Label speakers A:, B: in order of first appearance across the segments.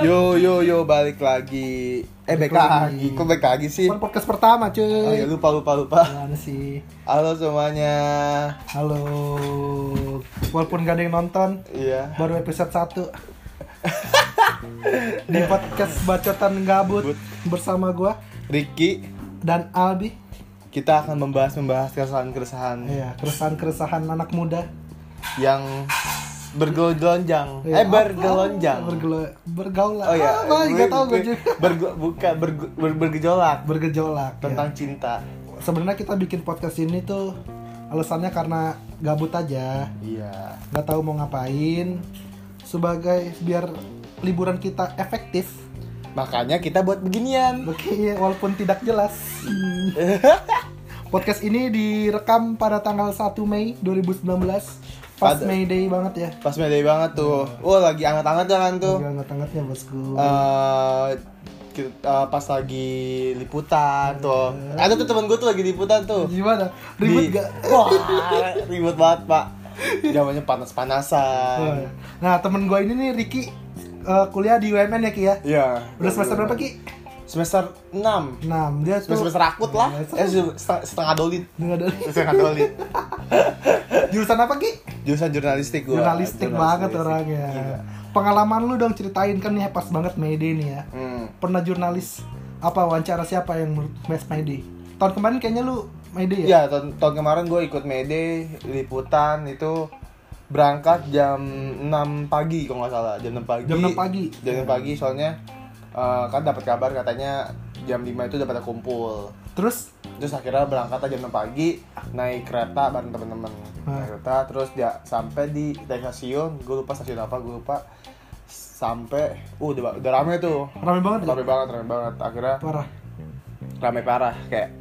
A: Yo yo yo balik lagi. Eh balik
B: Balik
A: lagi.
B: lagi.
A: Kok balik lagi sih?
B: Bukan podcast pertama cuy
A: Oh ya lupa lupa lupa.
B: Gimana sih
A: Halo semuanya.
B: Halo Walaupun gak ada yang nonton
A: Iya.
B: Baru episode 1 Di podcast Bacotan Gabut
A: Gabut.
B: Bersama gua
A: Ricky,
B: Dan Albi
A: kita akan membahas membahas keresahan-keresahan
B: Iya Keresahan-keresahan anak muda
A: yang bergelonjang. Eh
B: Iya, apa?
A: bergelonjang.
B: Bergelo- Ah, Bergaulat
A: Oh ya.
B: Apa?
A: gue-
B: Gak tau gue
A: gue-
B: juga
A: bergo- buka bergo- ber- bergejolak
B: Bergejolak ya.
A: tentang cinta.
B: Sebenarnya kita bikin podcast ini tuh Alasannya karena gabut aja
A: Iya.
B: nggak tahu mau ngapain sebagai biar liburan kita efektif
A: Makanya kita buat beginian.
B: Oke, iya, walaupun tidak jelas
A: Hmm.
B: podcast ini direkam pada tanggal 1 Mei 2019 pas
A: Pada-
B: May Day banget ya
A: Pas medai banget tuh. Wah, lagi anget-anget kan tuh.
B: Gila ngetengetnya bosku
A: eh ki- eh, pas lagi liputan tuh ada tuh temen gue tuh lagi liputan tuh
B: Ah, gimana ribet
A: Di-
B: gak
A: wah ribet banget pak zamannya panas panasan
B: nah temen gue ini nih Ricky eh, kuliah di UMN ya Ki ya
A: ya
B: udah semester berapa Ki?
A: semester 6
B: 6 dia tuh
A: semester semester akut lah eh,
B: Iya,
A: se- setengah, setengah dolit
B: Nggak ada-
A: setengah dolit
B: jurusan apa Ki?
A: jurusan jurnalistik iya. gue
B: jurnalistik banget orangnya. Pengalaman lu dong ceritain kan nih pas banget Mayday nih ya.
A: hmm.
B: Pernah jurnalis apa wawancara siapa yang menurut Mas Mayday? Tahun kemarin kayaknya lu Mayday ya?
A: Ya, tahun, tahun kemarin gue ikut Mede, liputan itu berangkat jam 6 pagi kalau nggak salah, jam 6 pagi.
B: Jam 6 pagi.
A: Jam 6 pagi soalnya eh, kan dapat kabar katanya jam 5 itu dapat kumpul.
B: Terus
A: Terus akhirnya berangkat aja jam 6 pagi, naik kereta bareng temen-temen. Naik kereta terus ya sampai di dari stasiun, gue lupa stasiun apa, gue lupa sampai uh udah, udah rame tuh.
B: rame banget ya?
A: Rame banget, rame banget. Akhirnya
B: Parah.
A: rame parah kayak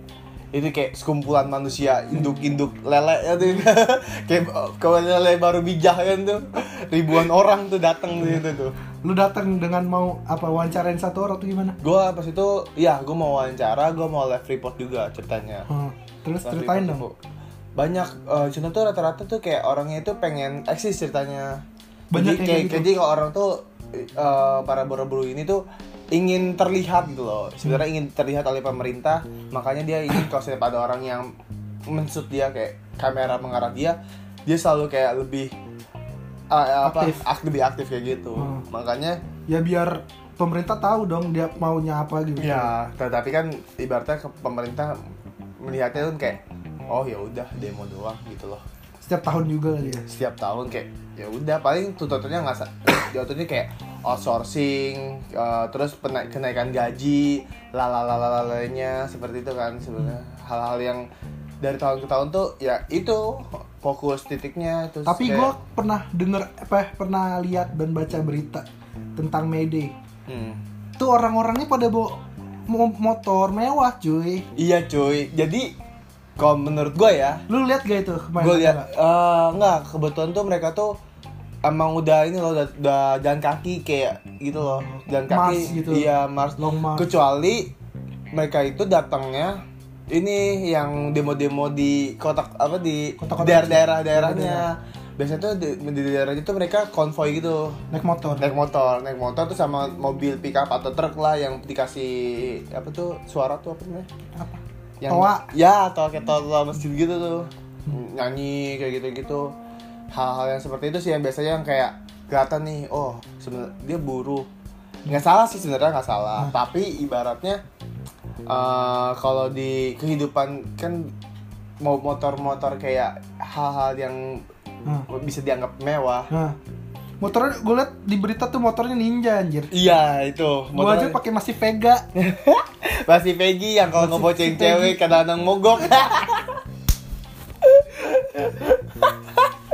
A: itu kayak sekumpulan manusia induk-induk lele ya tuh kayak kawan lele baru bijak kan tuh ribuan orang tuh datang di situ tuh
B: Lu datang dengan mau apa wawancarain satu orang tuh gimana?
A: gue pas itu ya gue mau wawancara gue mau live report juga ceritanya
B: Hmm, Terus
A: Live
B: ceritain
A: report
B: dong.
A: tuh, banyak eh contoh tuh rata-rata tuh kayak orangnya itu pengen eksis ceritanya
B: Banyak
A: jadi
B: yang
A: kayak
B: kayak gitu.
A: jadi kalau orang tuh eh, para buru-buru ini tuh ingin terlihat gitu loh
B: Hmm.
A: sebenarnya ingin terlihat oleh pemerintah makanya dia ingin kalau misalnya pada orang yang mensut dia kayak kamera mengarah dia dia selalu kayak lebih eh, apa
B: Aktif.
A: ak- lebih aktif kayak gitu
B: Hmm.
A: makanya
B: Ya biar pemerintah tahu dong dia maunya apa gitu.
A: Ya, tetapi kan ibaratnya ke- pemerintah melihatnya tuh kayak oh ya udah demo doang gitu loh.
B: Setiap tahun juga kali ya.
A: Setiap tahun kayak ya udah paling tuntutannya nggak sa- jatuhnya kayak outsourcing eh, terus pena- kenaikan gaji lalalalalanya seperti itu kan sebenarnya hal-hal yang dari tahun ke tahun tuh ya itu fokus titiknya terus
B: Tapi
A: kayak-
B: gua pernah denger apa pernah lihat dan baca berita tentang Mayday.
A: Hmm.
B: tuh orang-orangnya pada bawa mo- motor mewah cuy
A: iya cuy jadi kalau menurut gue ya
B: lu lihat gak itu kemarin
A: gue
B: atau
A: lihat
B: nggak?
A: eh, nggak kebetulan tuh mereka tuh emang udah ini loh udah, udah jalan kaki kayak gitu loh jalan kaki
B: Mars gitu.
A: iya mars
B: long march
A: kecuali mereka itu datangnya ini yang demo-demo di kotak apa di
B: Kota-kota
A: daerah-daerah-daerahnya biasanya tuh di, di daerahnya tuh mereka konvoy gitu
B: naik motor
A: naik motor naik motor tuh sama mobil pick up atau truk lah yang dikasih apa tuh suara tuh apa namanya
B: apa
A: yang
B: Toa.
A: ya toa kayak toa, toa masjid gitu tuh nyanyi kayak gitu gitu hal-hal yang seperti itu sih yang biasanya yang kayak kelihatan nih oh sebenarnya dia buruh nggak salah sih sebenarnya nggak salah tapi ibaratnya eh, kalau di kehidupan kan mau motor-motor kayak hal-hal yang
B: Hah.
A: bisa dianggap mewah
B: nah motornya gue liat di berita tuh motornya ninja anjir
A: iya itu
B: gua aja
A: motor
B: pakai masih Vega
A: masih Peggy yang kalau ngeboceng cewek kadang-kadang mogok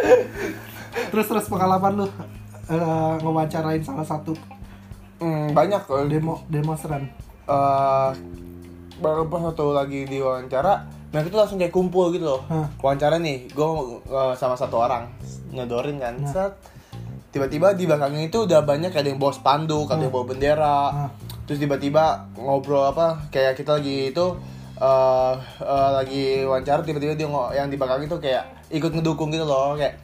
B: terus terus pengalaman lu eh, ngewawancarain salah satu
A: Hmm, banyak loh
B: demo demonstran
A: eh baru pas waktu lagi di wawancara mereka tuh langsung kayak kumpul gitu loh
B: Hah.
A: wawancara nih gue sama satu orang nyodorin kan set tiba-tiba di belakangnya itu udah banyak ada yang bawa spanduk ada yang bawa bendera
B: Hah.
A: terus tiba-tiba ngobrol apa kayak kita lagi itu eh eh, lagi wawancara tiba-tiba dia ngo- yang di belakang itu kayak ikut ngedukung gitu loh kayak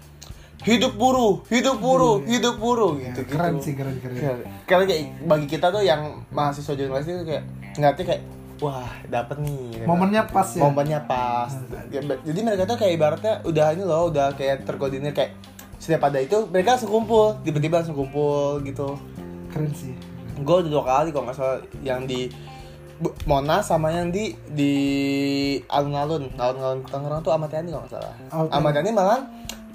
A: hidup buruh, hidup buruh, hidup buruh gitu gitu.
B: Iya. keren sih keren keren
A: Keren. Karena kayak bagi kita tuh yang mahasiswa jurnalistik itu kayak ngeliatnya kayak wah dapet nih. gitu kan.
B: momennya pas ya
A: momennya pas. Ya, ba- Jadi mereka tuh kayak ibaratnya udah ini loh, udah kayak terkoordinir kayak setiap ada itu mereka langsung kumpul, tiba-tiba langsung kumpul gitu.
B: keren sih
A: Gue udah dua kali kalau nggak salah yang di Bu- Monas sama yang di di alun-alun, alun-alun Tangerang tuh Ahmad Yani kalau nggak salah.
B: Oh, Tangerang.
A: Ahmad Yani malah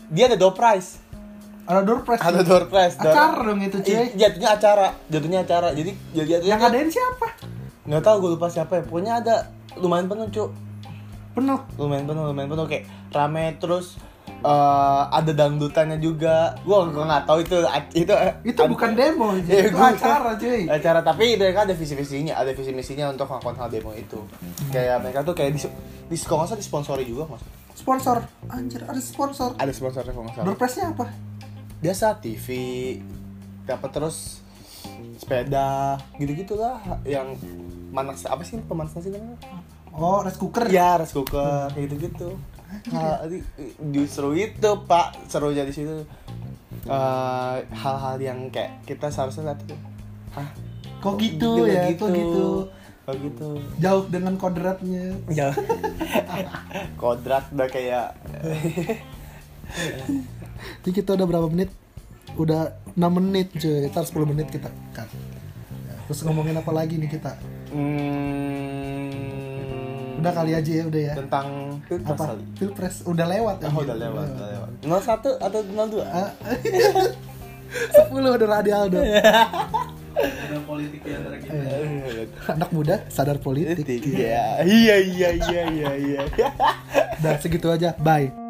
A: dia ada door prize
B: ada door prize
A: ada
B: ya?
A: door prize door-
B: acar dong itu cuy
A: Ih, jatuhnya acara jatuhnya acara jadi jadi jatuhnya kan
B: yang ngadain siapa
A: nggak tahu gue lupa siapa ya pokoknya ada lumayan penuh cu
B: penuh
A: lumayan penuh lumayan penuh kayak rame terus eh, ada dangdutannya juga gue nggak tahu itu itu
B: itu bukan demo cuy.
A: Iya,
B: itu
A: gua-
B: acara cuy
A: acara tapi mereka ada visi misinya ada visi misinya untuk melakukan hal demo itu kayak mereka tuh kayak di di kalau nggak salah disponsori juga mas
B: sponsor anjir ada sponsor
A: ada sponsornya kalau nggak salah
B: door prize nya apa
A: biasa TV dapat terus sepeda gitu gitulah yang manas apa sih pemanas nasi namanya
B: oh rice cooker
A: ya rice cooker kayak gitu gitu justru itu pak serunya di situ Eh, hal-hal yang kayak kita seharusnya lihat tuh Hah?
B: kok
A: Iya,
B: gitu ya kok gitu Iya.
A: kok gitu
B: jauh dengan kodratnya
A: ya kodrat udah kayak
B: Jadi kita udah berapa menit? Udah 6 menit cuy, ntar 10 menit kita cut Ya, Terus ngomongin apa lagi nih kita?
A: hmm,
B: Udah kali aja ya, udah ya
A: tentang filter
B: Apa?
A: kali.
B: Pilpres, udah lewat
A: Oh, udah lewat, udah lewat. 01 atau 02?
B: Ah. 10 udah Radialdo
C: ada politik di antara kita
B: Anak muda, sadar politik
A: Iya, iya, iya, iya, iya.
B: Dan segitu aja, bye